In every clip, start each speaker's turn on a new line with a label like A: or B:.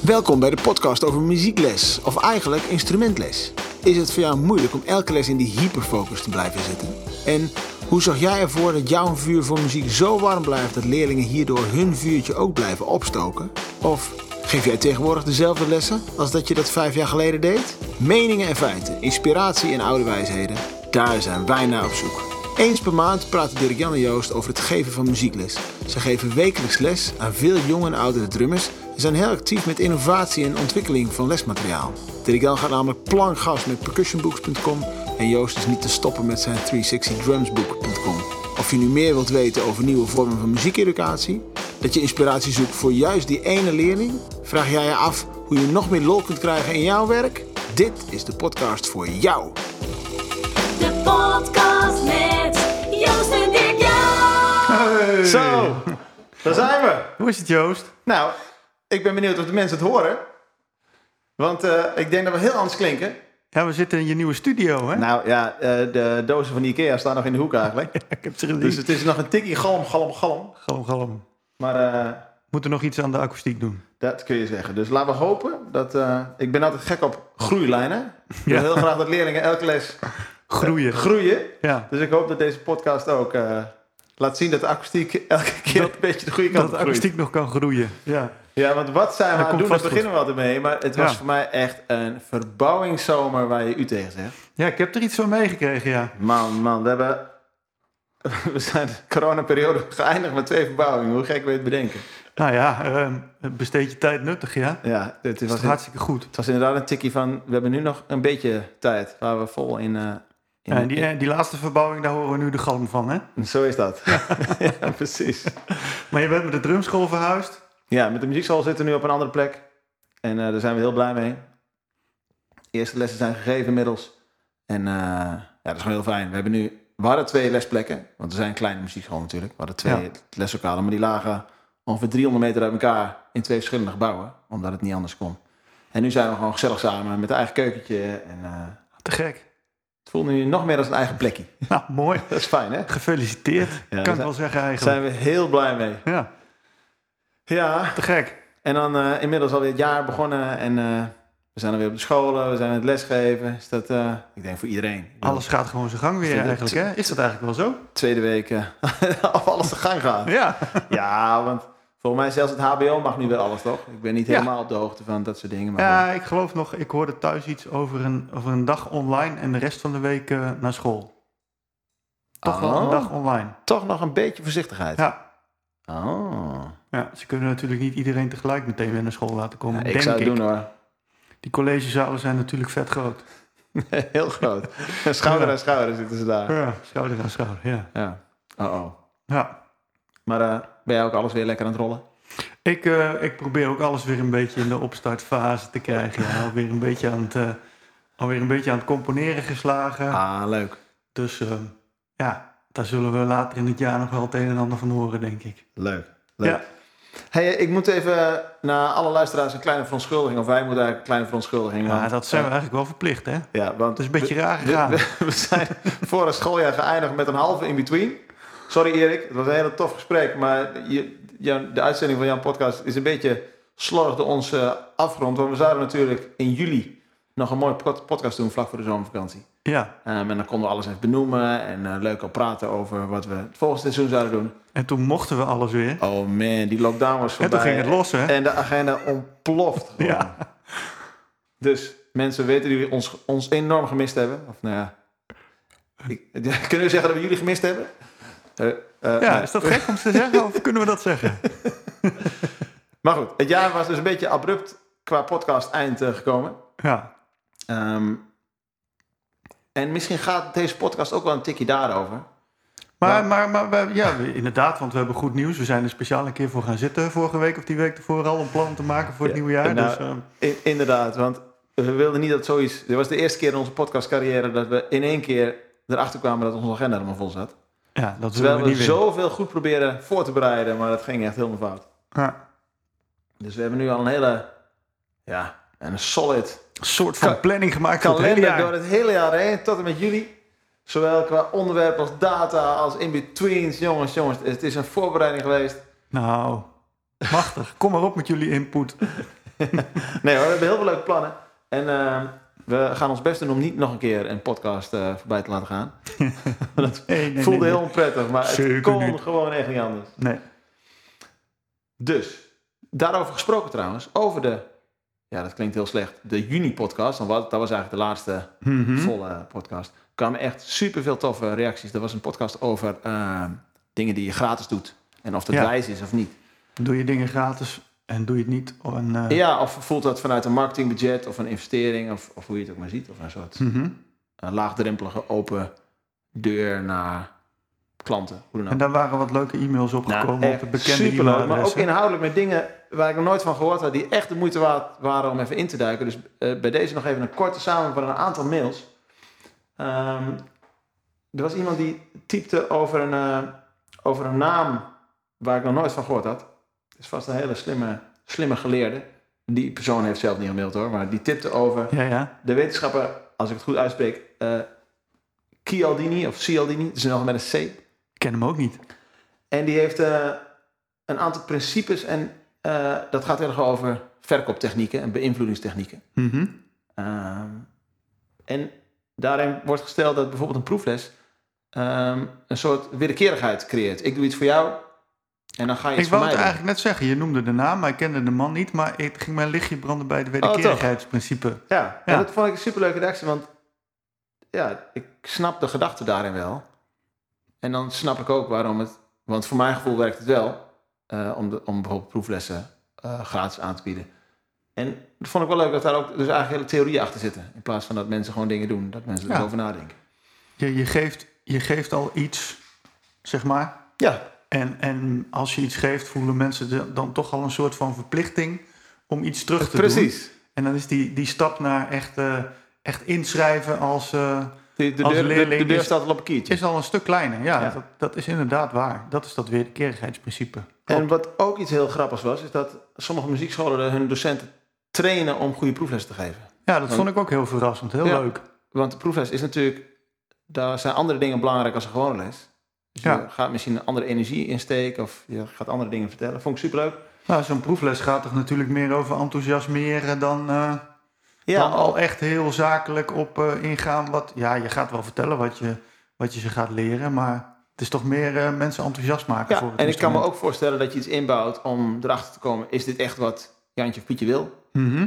A: Welkom bij de podcast over muziekles, of eigenlijk instrumentles. Is het voor jou moeilijk om elke les in die hyperfocus te blijven zitten? En hoe zorg jij ervoor dat jouw vuur voor muziek zo warm blijft dat leerlingen hierdoor hun vuurtje ook blijven opstoken? Of geef jij tegenwoordig dezelfde lessen als dat je dat vijf jaar geleden deed? Meningen en feiten, inspiratie en oude wijsheden, daar zijn wij naar op zoek. Eens per maand praten Dirk-Jan en Joost over het geven van muziekles. Ze geven wekelijks les aan veel jonge en oudere drummers en zijn heel actief met innovatie en ontwikkeling van lesmateriaal. Dirk-Jan gaat namelijk plankgas met percussionbooks.com en Joost is niet te stoppen met zijn 360drumsbook.com. Of je nu meer wilt weten over nieuwe vormen van muziekeducatie, dat je inspiratie zoekt voor juist die ene leerling, vraag jij je af hoe je nog meer lol kunt krijgen in jouw werk? Dit is de podcast voor jou.
B: De podcast met Joost en Dirk Jan.
A: Zo, daar zijn we.
C: Hoe is het, Joost?
A: Nou, ik ben benieuwd of de mensen het horen. Want eh, ik denk dat we heel anders klinken.
C: Ja, we zitten in je nieuwe studio, hè?
A: Nou ja, eh, de dozen van Ikea staan nog in de hoek eigenlijk.
C: ik heb ze gezien.
A: Dus het is nog een tikkie galm, galm, galm.
C: Galm, galm.
A: Maar eh,
C: We moeten nog iets aan de akoestiek doen.
A: dat kun je zeggen. Dus laten we hopen dat... eh, ik ben altijd gek op groeilijnen. Ik wil
C: Ja.
A: heel graag dat leerlingen elke les
C: Groeien.
A: groeien.
C: ja.
A: Dus ik hoop dat deze podcast ook eh, laat zien dat de akoestiek elke keer een beetje de goede kant
C: Dat de
A: op groeit.
C: akoestiek nog kan groeien. Ja.
A: Ja, want wat zijn we
C: Hij
A: aan het doen?
C: komt
A: Daar
C: vast
A: beginnen we altijd mee. Maar het was
C: Ja.
A: voor mij echt een verbouwingszomer waar je u tegen zegt.
C: ja, ik heb er iets van meegekregen, ja.
A: Man, man, we hebben... We zijn de coronaperiode geëindigd met twee verbouwingen. Hoe gek wil je het bedenken?
C: Nou ja, ehm, besteed je tijd nuttig, ja.
A: Ja, het
C: Dat
A: was,
C: is hartstikke goed.
A: het was inderdaad een tikkie van... We hebben nu nog een beetje tijd waar we vol in... eh, in-
C: Ja, en die, eh, die laatste verbouwing, daar horen we nu de galm van, hè?
A: Zo is dat. ja, precies.
C: Maar je bent met de drumschool verhuisd.
A: Ja, met de muziekschool zitten we nu op een andere plek. En eh, daar zijn we heel blij mee. De eerste lessen zijn gegeven inmiddels. En eh, ja, dat is gewoon heel fijn. We hebben nu... We hadden twee lesplekken. Want we zijn een kleine muziekschool natuurlijk. We hadden twee
C: Ja.
A: leslokalen. Maar die lagen ongeveer 300 meter uit elkaar in twee verschillende gebouwen. Omdat het niet anders kon. En nu zijn we gewoon gezellig samen met een eigen keukentje. En eh,
C: Te gek.
A: het voelt nu nog meer als een eigen plekje.
C: Nou, mooi.
A: Dat is fijn, hè?
C: Gefeliciteerd,
A: daar
C: kan
A: zijn-
C: ik wel zeggen
A: Daar
C: eigenlijk.
A: zijn we heel blij mee.
C: Ja,
A: Ja,
C: te gek.
A: En dan eh, inmiddels alweer het jaar begonnen en eh, we zijn alweer op de scholen, we zijn aan het lesgeven. Is dat, eh, ik denk voor iedereen. Ik bedoel,
C: Alles gaat gewoon zijn gang
A: Vind
C: weer
A: het-
C: eigenlijk, hè? Is dat eigenlijk wel zo?
A: Tweede week, eh, of alles te gang gaat.
C: Ja.
A: Ja, want volgens mij zelfs het hbo mag nu weer alles, toch? Ik ben niet
C: Ja.
A: helemaal op de hoogte van dat soort dingen. Maar eh,
C: Ja, ik geloof nog, ik hoorde thuis iets over een, over een dag online en de rest van de week eh, naar school. Toch wel
A: Oh.
C: een dag online.
A: toch nog een beetje voorzichtigheid.
C: Ja.
A: Oh.
C: ja, ze kunnen natuurlijk niet iedereen tegelijk meteen weer naar school laten
A: Ja,
C: komen.
A: ik
C: denk
A: zou het
C: ik.
A: doen hoor.
C: Die collegezalen zijn natuurlijk vet groot.
A: Heel groot. Schouder aan schouder zitten ze daar.
C: Ja, schouder aan schouder, ja.
A: Ja. Oh oh.
C: ja.
A: Maar eh, ben jij ook alles weer lekker aan het rollen?
C: Ik, eh, ik probeer ook alles weer een beetje in de opstartfase te krijgen. Ja, alweer, een beetje aan het, eh, alweer een beetje aan het componeren geslagen.
A: Ah, leuk.
C: Dus eh, ja, daar zullen we later in het jaar nog wel het een en ander van horen, denk ik.
A: Leuk. leuk.
C: Ja.
A: Hey, ik moet even naar alle luisteraars een kleine verontschuldiging. Of wij moeten eigenlijk een kleine verontschuldiging.
C: Ja,
A: want- eh,
C: dat zijn we eigenlijk wel verplicht, hè?
A: Ja, want
C: Dat is een beetje raar
A: we,
C: gegaan.
A: we- we zijn vorig schooljaar geëindigd met een halve in-between. Sorry Erik, het was een hele tof gesprek. Maar je, jou- de uitzending van jouw podcast is een beetje slordig door ons eh, afgerond. Want we zouden natuurlijk in juli nog een mooie pod- podcast doen vlak voor de zomervakantie.
C: Ja,
A: Ehm, en dan konden we alles even benoemen en eh, leuk al praten over wat we het volgende seizoen zouden doen.
C: en toen mochten we alles weer.
A: Oh man, die lockdown was
C: en
A: voorbij.
C: toen ging het los, hè?
A: En de agenda ontploft. gewoon.
C: Ja.
A: Dus mensen weten die ons, ons enorm gemist hebben. Of nou ja. Ik, ja, kunnen we zeggen dat we jullie gemist hebben? Eh, eh,
C: Ja,
A: nee.
C: is dat gek om te zeggen of kunnen we dat zeggen?
A: Maar goed, het jaar was dus een beetje abrupt qua podcast eind eh, gekomen.
C: Ja,
A: Ehm, en misschien gaat deze podcast ook wel een tikje daarover.
C: maar,
A: Nou.
C: maar, maar, we- ja, we- inderdaad, want we hebben goed nieuws. We zijn er speciaal een keer voor gaan zitten vorige week of die week ervoor al om plannen te maken voor het
A: Ja,
C: nieuwe jaar.
A: nou,
C: dus, ehm,
A: I- inderdaad, want we wilden niet dat zoiets... Dit was de eerste keer in onze podcastcarrière dat we in één keer erachter kwamen dat onze agenda helemaal vol zat.
C: ja, dat willen
A: Terwijl
C: we
A: we
C: niet willen.
A: zoveel goed proberen voor te bereiden, maar dat ging echt helemaal fout.
C: Ja,
A: Dus we hebben nu al een hele, ja, een solid
C: een soort van
A: Ka-
C: planning gemaakt voor het hele
A: kalender
C: jaar.
A: door het hele jaar heen, tot en met juli. Zowel qua onderwerp als data, als in-betweens. Jongens, jongens, het is een voorbereiding geweest.
C: Nou, machtig. Kom maar op met jullie input.
A: nee hoor, we hebben heel veel leuke plannen. En eh, we gaan ons best doen om niet nog een keer een podcast eh, voorbij te laten gaan.
C: Nee, nee, nee,
A: Voelde
C: nee.
A: heel onprettig, maar het
C: Zeker
A: kon
C: niet.
A: gewoon echt niet anders.
C: Nee.
A: Dus, daarover gesproken trouwens, over de, ja dat klinkt heel slecht, de juni-podcast, want wat- dat was eigenlijk de laatste
C: Mhm.
A: volle podcast, kwamen echt superveel toffe reacties. Er was een podcast over eh, dingen die je gratis doet en of dat
C: Ja.
A: wijs is of niet.
C: Doe je dingen gratis en doe je het niet. op een, eh,
A: Ja, of voelt dat vanuit een marketingbudget of een investering of, of hoe je het ook maar ziet, of een soort
C: mhm.
A: een laagdrempelige open deur naar klanten, hoe dan ook.
C: En daar waren wat leuke e-mails opgekomen op het bekende
A: Nou, superleuk, maar ook
C: e-mailadres. hè?
A: inhoudelijk met dingen waar ik nog nooit van gehoord had, die echt de moeite waard waren om even in te duiken. Dus eh, bij deze nog even een korte samenvatting van een aantal mails. Ehm, er was iemand die typte over een, eh, over een naam waar ik nog nooit van gehoord had. Het is vast een hele slimme, slimme geleerde. Die persoon heeft zelf niet gemaild hoor, maar die tipte over
C: Ja, ja.
A: de wetenschapper, als ik het goed uitspreek, eh Cialdini of Cialdini, het is nog met een C.
C: Ik ken hem ook niet.
A: En die heeft eh, een aantal principes en eh, dat gaat heel erg over verkooptechnieken en beïnvloedingstechnieken.
C: Mhm.
A: Ehm, en daarin wordt gesteld dat bijvoorbeeld een proefles ehm, een soort wederkerigheid creëert. Ik doe iets voor jou en dan ga je
C: Ik
A: iets voor mij
C: wou het
A: doen.
C: eigenlijk net zeggen. Je noemde de naam, maar ik kende de man niet. Maar het ging mijn lichtje branden bij het
A: Oh,
C: wederkerigheidsprincipe.
A: Ja,
C: Ja.
A: En dat vond ik een superleuke reactie, want ja, ik snap de gedachte daarin wel. En dan snap ik ook waarom het... Want voor mijn gevoel werkt het wel eh, om, de, om bijvoorbeeld proeflessen eh, gratis aan te bieden. En dat vond ik wel leuk dat daar ook dus eigenlijk hele theorieën achter zitten. In plaats van dat mensen gewoon dingen doen, dat mensen
C: Ja.
A: erover nadenken.
C: je, je, geeft, je geeft al iets, zeg maar.
A: Ja,
C: En, en als je iets geeft, voelen mensen de- dan toch al een soort van verplichting om iets terug te doen.
A: precies.
C: En dan is die, die stap naar echt, eh, echt inschrijven als... eh,
A: De, de,
C: Als
A: deur, de- de,
C: leerling
A: deur
C: is-
A: staat al op een kiertje.
C: is al een stuk kleiner. Ja,
A: Ja.
C: Dat, dat is inderdaad waar. Dat is dat wederkerigheidsprincipe.
A: En wat ook iets heel grappigs was, is dat sommige muziekscholen hun docenten trainen om goede proeflessen te geven.
C: Ja, dat vond ik ook heel verrassend. Heel
A: Ja.
C: leuk.
A: Want de proefles is natuurlijk, daar zijn andere dingen belangrijk als een gewone les. Dus
C: Ja.
A: je gaat misschien een andere energie insteken of je gaat andere dingen vertellen. Vond ik superleuk.
C: Nou, zo'n proefles gaat toch natuurlijk meer over enthousiasmeren dan, eh,
A: Ja, oh,
C: dan
A: al,
C: al echt heel zakelijk op eh, ingaan. Wat, ja, je gaat wel vertellen wat je, wat je ze gaat leren, maar het is toch meer eh, mensen enthousiast maken
A: ja.
C: voor het
A: en ik kan me
C: instrument.
A: ook voorstellen dat je iets inbouwt om erachter te komen, is dit echt wat Jantje of Pietje wil?
C: Mhm.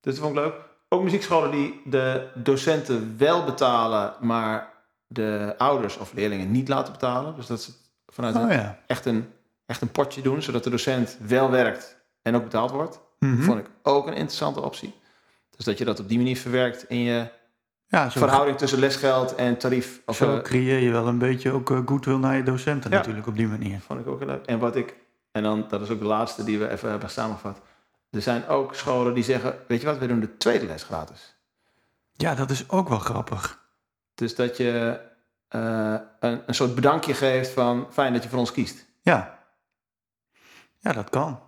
A: Dus dat vond ik leuk. Ook muziekscholen die de docenten wel betalen, maar de ouders of leerlingen niet laten betalen. Dus dat ze vanuit
C: Oh
A: een-
C: ja.
A: echt, een, echt een potje doen, zodat de docent wel werkt en ook betaald wordt.
C: Mhm.
A: Vond ik ook een interessante optie. Dus dat je dat op die manier verwerkt in je
C: ja, zo,
A: verhouding tussen lesgeld en tarief. Of,
C: zo
A: eh,
C: creëer je wel een beetje ook eh, goodwill naar je docenten
A: Ja.
C: natuurlijk op die manier.
A: vond ik ook heel leuk. En wat ik, en dan, dat is ook de laatste die we even hebben samengevat. Er zijn ook scholen die zeggen, weet je wat, we doen de tweede les gratis.
C: Ja, dat is ook wel grappig.
A: Dus dat je eh, een, een soort bedankje geeft van, fijn dat je voor ons kiest.
C: Ja, ja dat kan.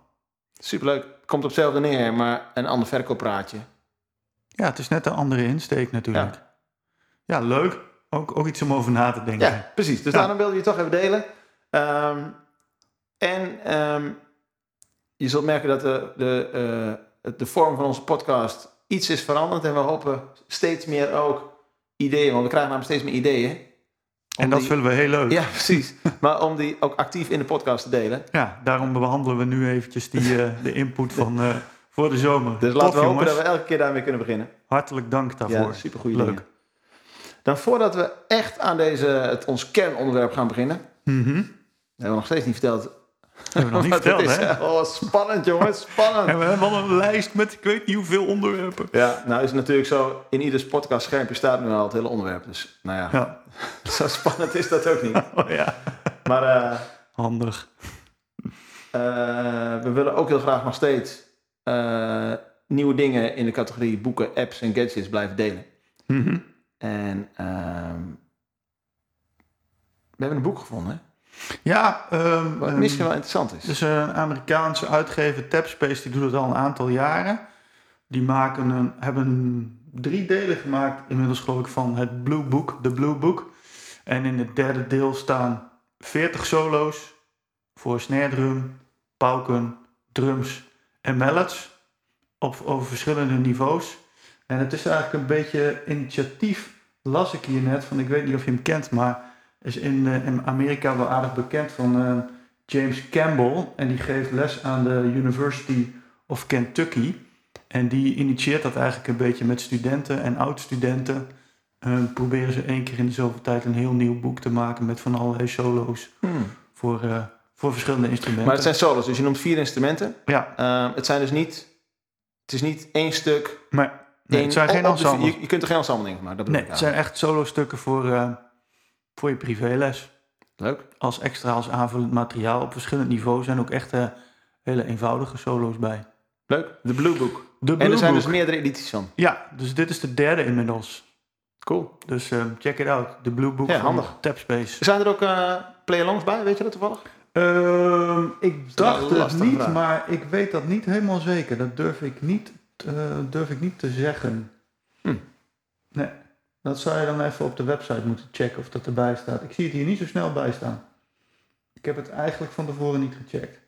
A: Superleuk. Komt op hetzelfde neer, maar een ander verkooppraatje.
C: Ja, het is net een andere insteek natuurlijk. Ja, leuk. Ook, ook iets om over na te denken.
A: Ja, precies. Dus
C: Ja.
A: daarom wilde je het toch even delen. Ehm, en ehm, je zult merken dat de, de, eh, het- de vorm van onze podcast iets is veranderd. En we hopen steeds meer ook ideeën, want we krijgen namelijk steeds meer ideeën. Om
C: en dat
A: die-
C: vullen we heel leuk. Ja.
A: Ja, precies. maar om die ook actief in de podcast te delen.
C: daarom behandelen we nu eventjes die, eh, de input van eh, voor de zomer.
A: Dus laten
C: Tof,
A: we hopen
C: jongens.
A: dat we elke keer daarmee kunnen beginnen.
C: Hartelijk dank daarvoor.
A: Ja, supergoeie
C: leuk.
A: dingen. Dan voordat we echt aan deze, het, ons kernonderwerp gaan beginnen,
C: Mhm.
A: hebben we nog steeds niet verteld.
C: Hebben we nog niet
A: wat het
C: verteld,
A: is.
C: hè?
A: Oh, spannend jongens, spannend.
C: En we hebben al een lijst met ik weet niet hoeveel onderwerpen.
A: Ja, nou is het natuurlijk zo, in ieders podcast schermpje staat nu al het hele onderwerp. Dus nou ja,
C: Ja,
A: zo spannend is dat ook niet.
C: oh, ja.
A: Maar eh,
C: handig.
A: eh, we willen ook heel graag nog steeds eh, nieuwe dingen in de categorie boeken, apps en gadgets blijven delen.
C: Mhm.
A: En ehm, we hebben een boek gevonden, hè?
C: Ja, ehm,
A: wat
C: ehm,
A: misschien wel interessant is.
C: Dus een Amerikaanse uitgever, Tapspace, die doet het al een aantal jaren. Die maken een, hebben drie delen gemaakt, inmiddels geloof ik, van het Blue Book, de Blue Book. En in het derde deel staan 40 solo's voor snare drum, pauken, drums en mallets. op, over verschillende niveaus. En het is eigenlijk een beetje initiatief, las ik hier net, van ik weet niet of je hem kent, maar is in, eh, in Amerika wel aardig bekend van eh, James Campbell. En die geeft les aan de University of Kentucky. En die initieert dat eigenlijk een beetje met studenten en oud-studenten. Eh, proberen ze één keer in de zoveel tijd een heel nieuw boek te maken met van allerlei solo's voor, eh, voor verschillende instrumenten.
A: Hmm. Maar het zijn solos, dus je noemt vier instrumenten.
C: ja,
A: Ehm, het zijn dus niet, het is niet één stuk.
C: maar nee,
A: één-
C: het zijn
A: op-
C: geen
A: op de-
C: ensembles.
A: je, je kunt er geen ensemble in maken, dat bedoel
C: Nee, het
A: ik
C: zijn
A: eigenlijk.
C: echt solo-stukken voor, eh, voor je privéles.
A: Leuk.
C: Als extra, als aanvullend materiaal. Op verschillend niveau zijn ook echt eh, hele eenvoudige solo's bij.
A: Leuk. De Blue Book.
C: De
A: En er zijn
C: Blue
A: dus
C: Book.
A: meerdere edities van.
C: Ja, dus dit is de derde inmiddels.
A: Cool.
C: Dus eh, check it out. De Blue Book
A: Ja,
C: van
A: handig.
C: Tapspace.
A: Zijn er ook eh play-alongs bij, weet je dat toevallig?
C: Ehm, ik
A: wel
C: dacht
A: een
C: het
A: lastige
C: niet,
A: vraag.
C: maar ik weet dat niet helemaal zeker. Dat durf ik niet, eh, durf ik niet te zeggen.
A: Hm.
C: Nee, dat zou je dan even op de website moeten checken of dat erbij staat. Ik zie het hier niet zo snel bij staan. Ik heb het eigenlijk van tevoren niet gecheckt.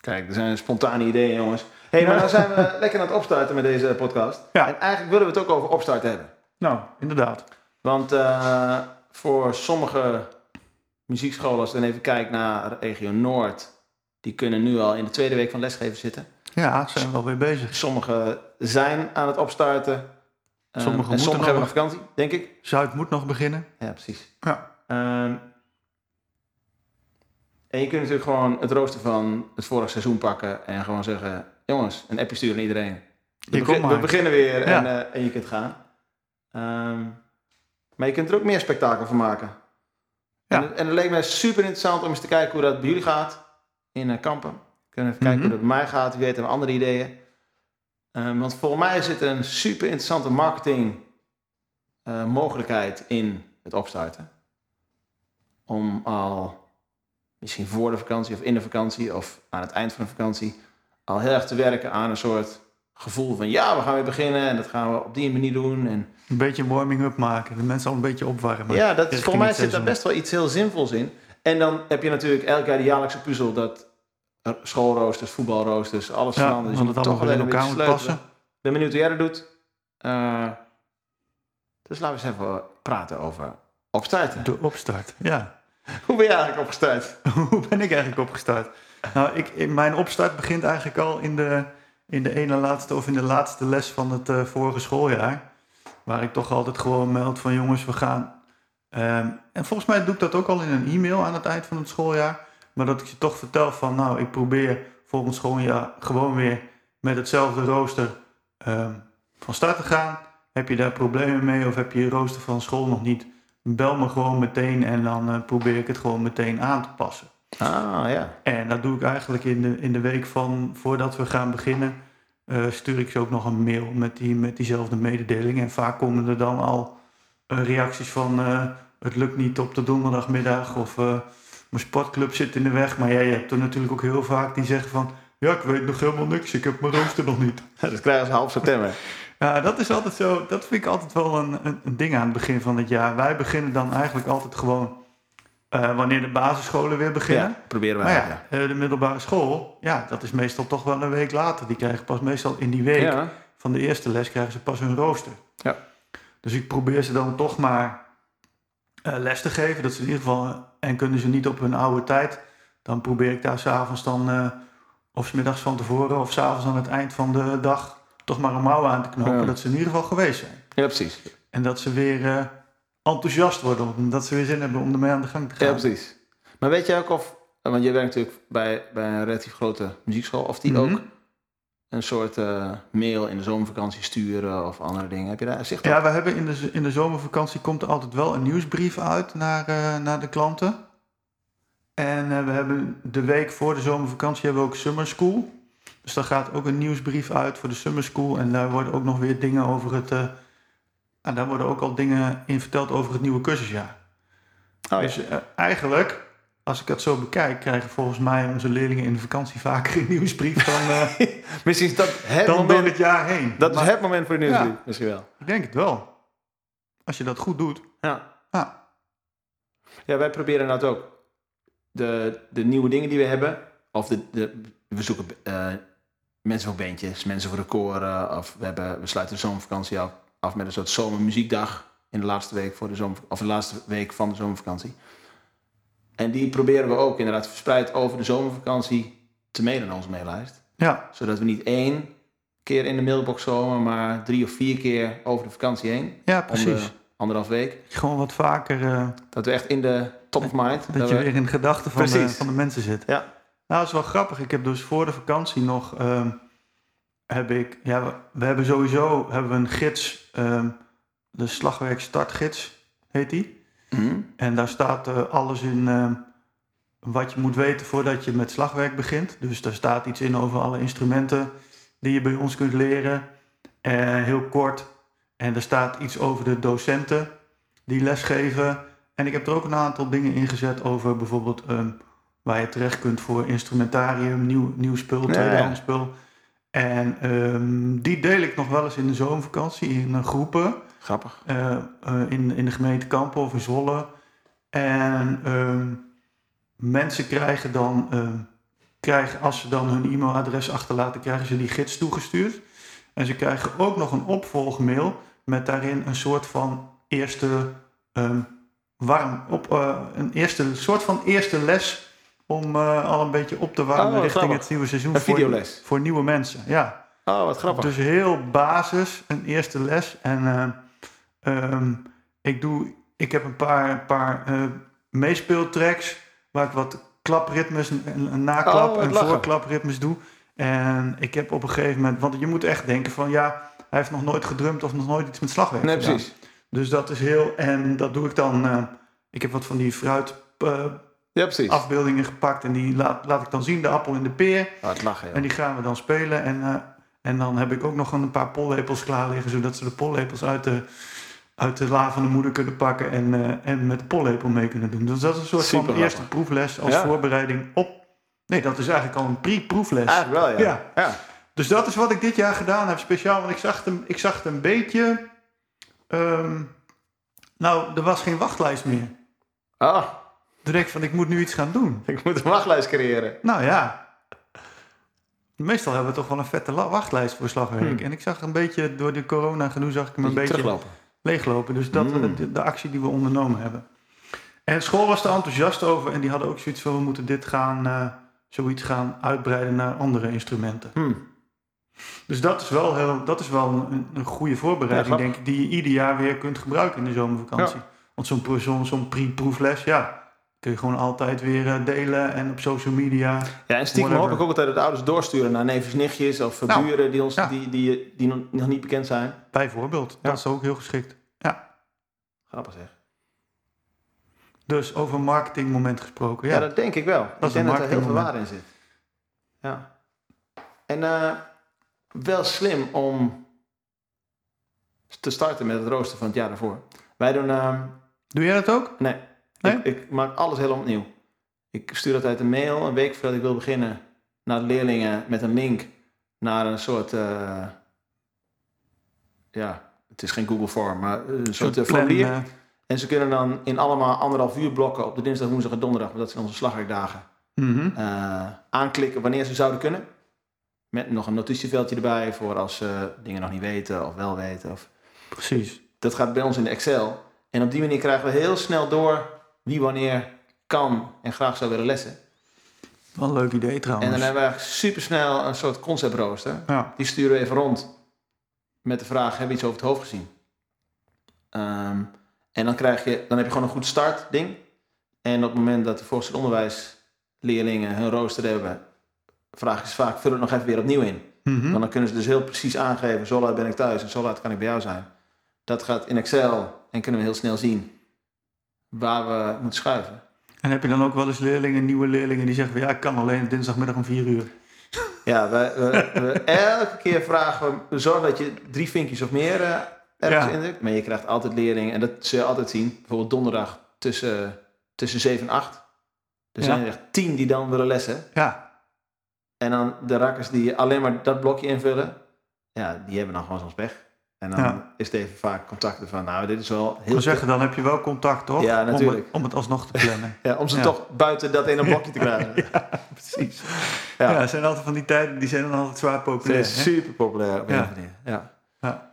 A: Kijk, er zijn spontane ideeën, jongens. Hé, hey, maar dan zijn we lekker aan het opstarten met deze podcast.
C: Ja.
A: En eigenlijk willen we het ook over opstarten hebben.
C: Nou, inderdaad.
A: Want eh, voor sommige muziekscholen, als ik dan even kijk naar regio Noord, die kunnen nu al in de tweede week van lesgeven zitten.
C: Ja, zijn we wel weer bezig.
A: Sommige zijn aan het opstarten. Eh,
C: Sommigen moeten
A: en sommigen
C: nog.
A: hebben nog vakantie, denk ik.
C: Zuid moet nog beginnen.
A: Ja, precies.
C: Ja.
A: Ehm, en je kunt natuurlijk gewoon het rooster van het vorig seizoen pakken en gewoon zeggen: jongens, een appje sturen naar iedereen. We,
C: Je
A: begin-
C: komt maar.
A: we beginnen weer
C: Ja.
A: en, eh, en je kunt gaan. Ehm, maar je kunt er ook meer spektakel van maken.
C: Ja.
A: En, en het leek mij super interessant om eens te kijken hoe dat bij jullie gaat in eh, Kampen. Kunnen we even kijken
C: Mhm.
A: hoe dat bij mij gaat. Wie weet hebben we andere ideeën. Ehm, want volgens mij zit er een super interessante marketing eh, mogelijkheid in het opstarten. Om al misschien voor de vakantie of in de vakantie of aan het eind van de vakantie al heel erg te werken aan een soort gevoel van ja, we gaan weer beginnen en dat gaan we op die manier doen. En
C: Een beetje een warming-up maken. De mensen al een beetje opwarmen.
A: ja, dat,
C: richting
A: voor mij
C: het
A: zit daar
C: seizoen.
A: best wel iets heel zinvols in. En dan heb je natuurlijk elk jaar de jaarlijkse puzzel dat er schoolroosters, voetbalroosters, alles
C: Ja,
A: verandert. Dus je
C: want
A: moet
C: het allemaal
A: toch
C: weer in
A: alleen een
C: elkaar
A: beetje
C: moet
A: sleutelen. Ik ben benieuwd hoe jij dat doet. Eh, dus laten we eens even praten over opstarten.
C: De opstart, ja.
A: Hoe ben je eigenlijk opgestart?
C: Hoe ben ik eigenlijk opgestart? Nou, ik, in- mijn opstart begint eigenlijk al in de, in de ene laatste of in de laatste les van het eh, vorige schooljaar. Waar ik toch altijd gewoon meld van jongens, we gaan. Ehm, en volgens mij doe ik dat ook al in een e-mail aan het eind van het schooljaar. Maar dat ik je toch vertel van nou, ik probeer volgend schooljaar gewoon weer met hetzelfde rooster ehm, van start te gaan. Heb je daar problemen mee of heb je je rooster van school nog niet? Bel me gewoon meteen en dan eh, probeer ik het gewoon meteen aan te passen.
A: Ah ja.
C: En dat doe ik eigenlijk in de, in de week van voordat we gaan beginnen. eh, stuur ik ze ook nog een mail met, die, met diezelfde mededeling. En vaak komen er dan al eh, reacties van eh, het lukt niet op de donderdagmiddag of eh, mijn sportclub zit in de weg. Maar jij hebt er natuurlijk ook heel vaak die zeggen van ja, ik weet nog helemaal niks, ik heb mijn rooster nog niet.
A: Dat krijgen ze half september.
C: Ja, dat is altijd zo. Dat vind ik altijd wel een, een, een ding aan het begin van het jaar. Wij beginnen dan eigenlijk altijd gewoon eh, wanneer de basisscholen weer beginnen.
A: Ja, proberen we
C: Maar
A: eigenlijk.
C: ja, eh, de middelbare school, ja, dat is meestal toch wel een week later. Die krijgen pas meestal in die week
A: Ja.
C: van de eerste les krijgen ze pas hun rooster.
A: Ja.
C: Dus ik probeer ze dan toch maar eh, les te geven. Dat ze in ieder geval, en kunnen ze niet op hun oude tijd, dan probeer ik daar s'avonds dan, eh, of 's middags van tevoren, of s'avonds aan het eind van de dag, toch maar een mouw aan te knopen.
A: Ja.
C: Dat ze in ieder geval geweest zijn.
A: ja, precies.
C: En dat ze weer eh, enthousiast worden, omdat ze weer zin hebben om ermee aan de gang te gaan.
A: Ja, precies. Maar weet jij ook of, want jij werkt natuurlijk bij, bij een relatief grote muziekschool, of die
C: Mhm.
A: ook een soort eh, mail in de zomervakantie sturen of andere dingen. Heb je daar zicht op?
C: Ja, we hebben in de, z- in de zomervakantie komt er altijd wel een nieuwsbrief uit naar, eh, naar de klanten. En eh, we hebben de week voor de zomervakantie hebben we ook summer school. Dus daar gaat ook een nieuwsbrief uit voor de summer school. En daar worden ook nog weer dingen over het. eh, en daar worden ook al dingen in verteld over het nieuwe cursusjaar.
A: Oh, ja.
C: dus eh, eigenlijk, als ik dat zo bekijk, krijgen volgens mij onze leerlingen in de vakantie vaker een nieuwsbrief dan, eh,
A: Misschien is dat het
C: dan door
A: moment.
C: het jaar heen.
A: Dat
C: Maar
A: is het moment voor de
C: Ja.
A: nieuwsbrief, misschien wel.
C: Ik denk het wel. Als je dat goed doet. ah,
A: Ja.
C: Ja.
A: ja, wij proberen dat ook. De, de nieuwe dingen die we hebben, of de, de, we zoeken eh, mensen voor bandjes, mensen voor record. Of we, hebben, we sluiten de zomervakantie af, af met een soort zomermuziekdag in de laatste week, voor de zomer, of de laatste week van de zomervakantie. En die proberen we ook inderdaad verspreid over de zomervakantie te mailen naar onze maillijst.
C: Ja,
A: Zodat we niet één keer in de mailbox komen, maar drie of vier keer over de vakantie heen.
C: ja
A: Om eh,
C: precies.
A: de anderhalf week.
C: Gewoon wat vaker eh,
A: Dat we echt in de top of mind.
C: dat je
A: we-
C: weer in de gedachten van, de-
A: Precies.
C: van de mensen zit.
A: Ja.
C: Nou, dat is wel grappig. Ik heb dus voor de vakantie nog... ehm, heb ik, ja, we, we hebben sowieso hebben we een gids. ehm, de Slagwerk Startgids heet die.
A: Mhm.
C: En daar staat eh, alles in eh, wat je moet weten voordat je met slagwerk begint. Dus daar staat iets in over alle instrumenten die je bij ons kunt leren. Eh, heel kort. En er staat iets over de docenten die lesgeven. En ik heb er ook een aantal dingen ingezet over bijvoorbeeld ehm, waar je terecht kunt voor instrumentarium, nieuw, nieuw spul,
A: ja.
C: tweedehands spul. En ehm, die deel ik nog wel eens in de zomervakantie in eh, groepen
A: Grappig.
C: eh, eh, in, in de gemeente Kampen of in Zwolle. En ehm, mensen krijgen dan, ehm, krijgen, als ze dan hun e-mailadres achterlaten, krijgen ze die gids toegestuurd. En ze krijgen ook nog een opvolgmail met daarin een soort van eerste ehm, warm op, eh, een eerste soort van eerste les om eh, al een beetje op te warmen
A: Oh,
C: richting
A: grappig.
C: het nieuwe seizoen
A: Een
C: voor-
A: videoles.
C: voor nieuwe mensen. Ja.
A: Oh, wat grappig.
C: Dus heel basis, een eerste les. En eh, ehm, ik, doe, ik heb een paar, een paar eh, meespeeltracks waar ik wat klapritmes, een, een
A: Oh,
C: naklap
A: wat
C: en
A: lachen.
C: voorklapritmes doe. En ik heb op een gegeven moment, want je moet echt denken van ja, hij heeft nog nooit gedrumd of nog nooit iets met slagwerk
A: nee,
C: gedaan.
A: precies.
C: Dus dat is heel, en dat doe ik dan, eh, ik heb wat van die fruit... eh,
A: Ja, precies.
C: afbeeldingen gepakt en die laat, laat ik dan zien, de appel en de peer.
A: Oh, het lachen, joh.
C: En die gaan we dan spelen. En, eh, en dan heb ik ook nog een paar pollepels klaar liggen, zodat ze de pollepels uit de, uit de la van de moeder kunnen pakken en, eh, en met de pollepel mee kunnen doen. Dus dat is een soort van
A: Super
C: eerste
A: grappig.
C: proefles als
A: Ja.
C: voorbereiding op. Nee, dat is eigenlijk al een pre-proefles.
A: Eigenlijk wel, ja.
C: Ja. Dus dat is wat ik dit jaar gedaan heb speciaal, want ik zag het, ik zag het een beetje. ehm, nou, er was geen wachtlijst meer.
A: Ah,
C: Toen dacht ik van, ik moet nu iets gaan doen.
A: ik moet een wachtlijst creëren.
C: Nou ja. Meestal hebben we toch wel een vette la- wachtlijst voor slagwerk. En ik zag een beetje, door de corona gedoe zag ik hem een beetje
A: teruglopen.
C: leeglopen. Dus dat
A: Hmm.
C: de, de actie die we ondernomen hebben. En school was er enthousiast over. En die hadden ook zoiets van, we moeten dit gaan, eh, zoiets gaan uitbreiden naar andere instrumenten.
A: Hmm.
C: Dus dat is wel, heel, dat is wel een, een goede
A: Ja,
C: voorbereiding,
A: grappig.
C: denk ik. Die je ieder jaar weer kunt gebruiken in de zomervakantie. Want zo'n pro- zo'n zo'n pre-proefles, ja... Kun je gewoon altijd weer eh, delen en op social media.
A: Ja, en stiekem
C: Whatever.
A: hoop ik ook altijd dat de ouders doorsturen naar neefjes, nichtjes of eh,
C: Nou,
A: buren die, ons,
C: ja.
A: die, die, die nog- nog niet bekend zijn.
C: Bijvoorbeeld, dat is ook heel geschikt.
A: Grappig zeg.
C: Dus over marketingmoment gesproken.
A: Ja,
C: Ja,
A: dat denk ik wel.
C: is
A: ik denk
C: een
A: dat er heel veel
C: marketingmoment.
A: waarde in zit. Ja. En eh, wel slim om te starten met het rooster van het jaar daarvoor. Wij doen eh,
C: Doe jij dat ook?
A: Nee.
C: Nee?
A: Ik, ik maak alles helemaal opnieuw. Ik stuur altijd een mail een week voordat ik wil beginnen naar de leerlingen met een link naar een soort. eh, ja, het is geen Google Form, maar een soort eh,
C: plan,
A: formulier.
C: eh,
A: En ze kunnen dan in allemaal anderhalf uur blokken op de dinsdag, woensdag en donderdag, want dat zijn onze slagwerkdagen,
C: mhm.
A: eh, aanklikken wanneer ze zouden kunnen. Met nog een notitieveldje erbij voor als ze dingen nog niet weten of wel weten. Of
C: Precies.
A: dat gaat bij ons in de Excel. En op die manier krijgen we heel snel door wie wanneer kan en graag zou willen lessen.
C: Wel een leuk idee
A: En
C: trouwens.
A: dan hebben we eigenlijk supersnel een soort conceptrooster.
C: ja.
A: Die sturen we even rond met de vraag, hebben we iets over het hoofd gezien? Ehm, en dan, krijg je, dan heb je gewoon een goed startding. En op het moment dat de voorstel onderwijsleerlingen hun rooster hebben, vraag ik ze vaak, vul het nog even weer opnieuw in.
C: Mhm.
A: Want dan kunnen ze dus heel precies aangeven, zo laat ben ik thuis en zo laat kan ik bij jou zijn. Dat gaat in Excel en kunnen we heel snel zien waar we moeten schuiven.
C: En heb je dan ook wel eens leerlingen, nieuwe leerlingen, die zeggen van ja, ik kan alleen dinsdagmiddag om vier uur.
A: Ja, we, we, we- elke keer vragen we, zorg dat je drie vinkjes of meer eh ergens
C: Ja.
A: indrukt. Maar je krijgt altijd leerlingen en dat zul je altijd zien. Bijvoorbeeld donderdag tussen, tussen 7 en 8. Er
C: Ja.
A: zijn er echt tien die dan willen lessen.
C: Ja,
A: En dan de rakkers die alleen maar dat blokje invullen, ja, die hebben dan gewoon soms pech. En dan
C: Ja.
A: is het even vaak contacten van, nou, dit is wel
C: Ik wil
A: heel...
C: zeggen, dan heb je wel contact, toch?
A: Ja,
C: Om
A: natuurlijk.
C: het, om het alsnog te plannen.
A: Ja, om ze
C: Ja.
A: toch buiten dat ene blokje te krijgen.
C: Precies.
A: Ja.
C: Ja. er zijn altijd van die tijden, die zijn dan altijd zwaar
A: Ze
C: populair.
A: is
C: hè?
A: super populair op een
C: Ja.
A: of andere manier. Ja.
C: Ja.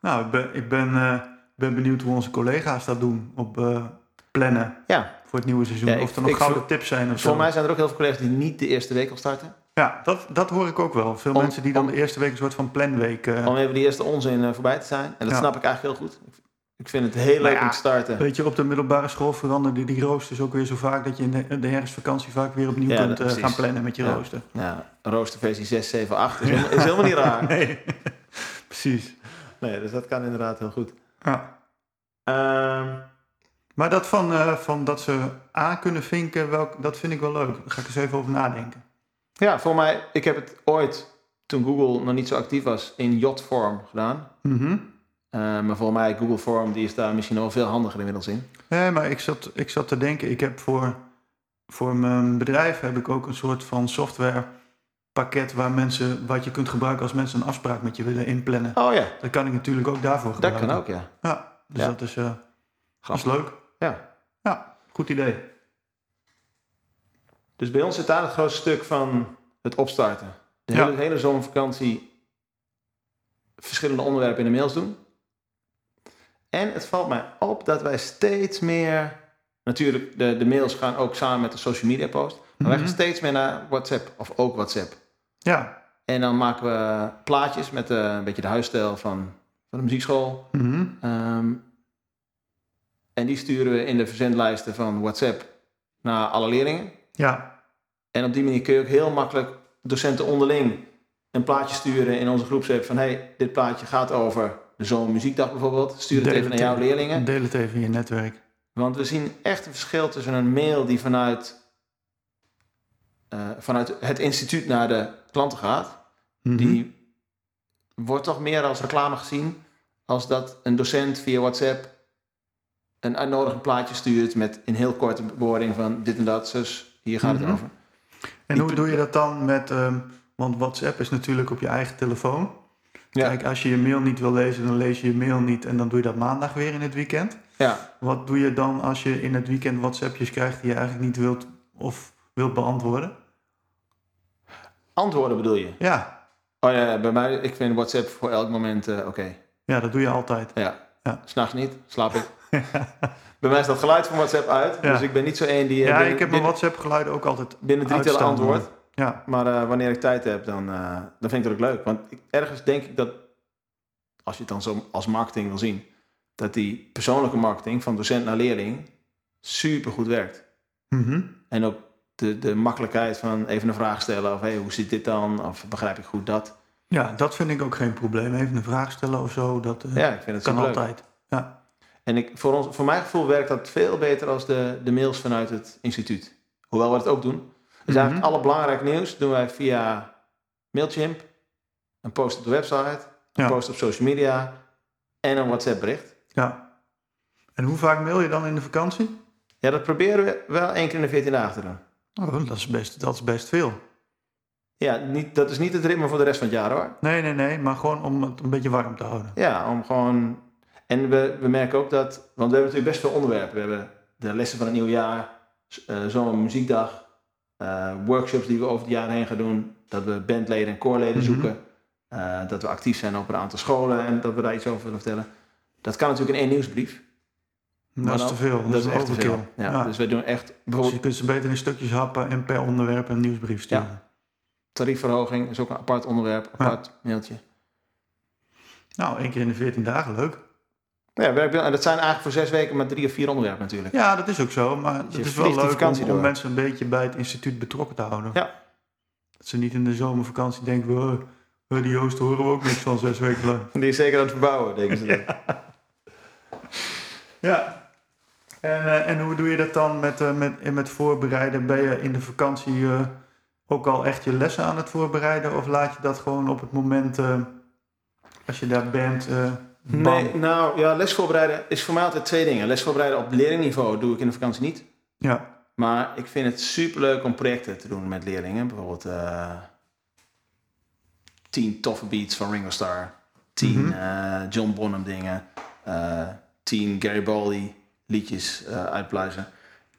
C: Nou, ik ben, ik ben, eh, ben benieuwd hoe onze collega's dat doen op eh, plannen
A: ja.
C: voor het nieuwe seizoen.
A: Ja, ik-
C: of er nog
A: ik-
C: gouden
A: voor-
C: tips zijn of zo.
A: Voor mij zijn er ook heel veel collega's die niet de eerste week al starten.
C: Ja, dat, dat hoor ik ook wel. Veel
A: Om-
C: mensen die dan
A: om-
C: de eerste week een soort van planweek... eh,
A: Om even die eerste onzin eh, voorbij te zijn. En dat
C: Ja.
A: snap ik eigenlijk heel goed. Ik- Ik vind het heel leuk
C: ja,
A: om te starten.
C: Weet je, op de middelbare school veranderde die roosters ook weer zo vaak... dat je in de, de herfstvakantie vaak weer opnieuw
A: Ja,
C: kunt
A: dat-
C: eh,
A: precies.
C: gaan plannen met je
A: Ja.
C: rooster.
A: Ja, roosterversie 6, 7, 8 is, helemaal- is helemaal niet raar.
C: Nee, precies.
A: Nee, dus dat kan inderdaad heel goed.
C: Ja.
A: Ehm,
C: Maar dat van, eh, van dat ze aan kunnen vinken, welk, dat vind ik wel leuk. Daar ga ik eens even over nadenken.
A: ja, voor mij, ik heb het ooit, toen Google nog niet zo actief was, in jotvorm gedaan.
C: Mhm.
A: Eh, maar voor mij, Google Form, die is daar misschien wel veel handiger inmiddels in.
C: Nee, maar ik zat, ik zat te denken, ik heb voor, voor mijn bedrijf heb ik ook een soort van softwarepakket waar mensen, wat je kunt gebruiken als mensen een afspraak met je willen inplannen.
A: Oh ja,
C: Dat kan ik natuurlijk ook daarvoor
A: dat
C: gebruiken.
A: kan ook, ja.
C: Ja, dus
A: Ja.
C: dat is, eh, dat is
A: Grappig.
C: leuk.
A: Ja.
C: Ja, goed idee.
A: Dus bij ons zit daar het grootste stuk van het opstarten. De
C: Ja.
A: hele, hele zomervakantie verschillende onderwerpen in de mails doen. En het valt mij op dat wij steeds meer... Natuurlijk, de, de mails gaan ook samen met de social media post. Maar wij gaan
C: Mhm.
A: steeds meer naar WhatsApp, of ook WhatsApp.
C: Ja.
A: En dan maken we plaatjes met eh, een beetje de huisstijl van, van de muziekschool.
C: Mhm.
A: Ehm, en die sturen we in de verzendlijsten van WhatsApp naar alle leerlingen.
C: Ja,
A: En op die manier kun je ook heel makkelijk docenten onderling een plaatje sturen in onze groepsapp van hey, dit plaatje gaat over de zomermuziekdag bijvoorbeeld. Stuur het
C: Deel
A: even naar
C: het
A: jouw
C: in.
A: leerlingen.
C: deel het even in je netwerk.
A: Want we zien echt een verschil tussen een mail die vanuit, eh, vanuit het instituut naar de klanten gaat.
C: Mhm.
A: Die wordt toch meer als reclame gezien als dat een docent via WhatsApp een uitnodigend plaatje stuurt met in heel korte bewoording van dit en dat, zus, hier gaat
C: Mhm.
A: het over.
C: En hoe doe je dat dan met, ehm, want WhatsApp is natuurlijk op je eigen telefoon.
A: Ja.
C: Kijk, als je je mail niet wil lezen, dan lees je je mail niet en dan doe je dat maandag weer in het weekend.
A: Ja,
C: Wat doe je dan als je in het weekend WhatsAppjes krijgt die je eigenlijk niet wilt of wilt beantwoorden?
A: antwoorden bedoel je?
C: Ja,
A: Oh ja, bij mij, ik vind WhatsApp voor elk moment eh, oké.
C: ja dat doe je altijd.
A: Ja.
C: Ja.
A: S'nachts niet, slaap ik. bij mij is dat geluid van WhatsApp uit,
C: Ja.
A: dus ik ben niet zo één die eh,
C: Ja,
A: binnen,
C: ik heb mijn
A: binnen,
C: WhatsApp geluid ook altijd
A: binnen drie tellen
C: uitstaan,
A: antwoord.
C: hoor. Ja,
A: Maar eh, wanneer ik tijd heb, dan, eh, dan vind ik dat ook leuk. Want ik- ergens denk ik dat, als je het dan zo als marketing wil zien, dat die persoonlijke marketing van docent naar leerling super goed werkt.
C: Mhm.
A: En ook de, de makkelijkheid van even een vraag stellen of hey, hoe zit dit dan? Of begrijp ik goed dat?
C: ja dat vind ik ook geen probleem. Even een vraag stellen of zo, dat eh,
A: Ja, ik vind het
C: kan
A: superleuk.
C: altijd. Ja.
A: En ik, voor, ons, voor mijn gevoel werkt dat veel beter als de, de mails vanuit het instituut. Hoewel we het ook doen. Dus eigenlijk alle belangrijk nieuws doen wij via Mailchimp, een post op de website, een
C: Ja.
A: post op social media en een WhatsApp bericht.
C: ja. En hoe vaak mail je dan in de vakantie?
A: Ja, dat proberen we wel één keer in de 14 dagen te doen.
C: Oh, dat, is best, dat is best veel.
A: Ja, niet, dat is niet het ritme voor de rest van het jaar hoor.
C: Nee, nee, nee, maar gewoon om het een beetje warm te houden.
A: Ja, om gewoon. En we, we merken ook dat. Want we hebben natuurlijk best veel onderwerpen. We hebben de lessen van het nieuwe jaar, s- eh zomermuziekdag, eh, workshops die we over het jaar heen gaan doen. Dat we bandleden en koorleden
C: Mhm.
A: zoeken. eh, dat we actief zijn op een aantal scholen en dat we daar iets over willen vertellen. Dat kan natuurlijk in één nieuwsbrief.
C: Dat is
A: dan-
C: te veel. Dat, is
A: te
C: overkill.
A: veel. Ja,
C: Ja.
A: Dus we doen echt
C: Dus
A: bijvoorbeeld
C: je kunt ze beter in stukjes happen en per onderwerp een nieuwsbrief sturen.
A: tariefverhoging, is ook een apart onderwerp, apart mailtje.
C: Nou, één keer in de 14 dagen, leuk.
A: Ja, werkt wel. En dat zijn eigenlijk voor zes weken maar drie of vier onderwerpen natuurlijk.
C: Ja, dat is ook zo, maar
A: je
C: het is
A: vliegt
C: wel
A: die
C: leuk
A: vakantie
C: om,
A: door.
C: om mensen een beetje bij het instituut betrokken te houden.
A: Ja.
C: Dat ze niet in de zomervakantie denken, "Oh, eh, die Joost horen we ook niks van zes weken lang.
A: Die is zeker aan het verbouwen, denken ze. dan.
C: Ja. En, eh, en hoe doe je dat dan met, eh, met, en met voorbereiden? Ben je in de vakantie eh, ook al echt je lessen aan het voorbereiden? Of laat je dat gewoon op het moment, eh, als je daar bent, eh bam?
A: Nee, nou ja, lesvoorbereiden is voor mij altijd twee dingen. Lesvoorbereiden op leerlingniveau doe ik in de vakantie niet.
C: Ja.
A: Maar ik vind het superleuk om projecten te doen met leerlingen. Bijvoorbeeld eh tien toffe beats van Ringo Starr. tien eh, John Bonham dingen, eh, tien Garibaldi liedjes eh, uitpluizen.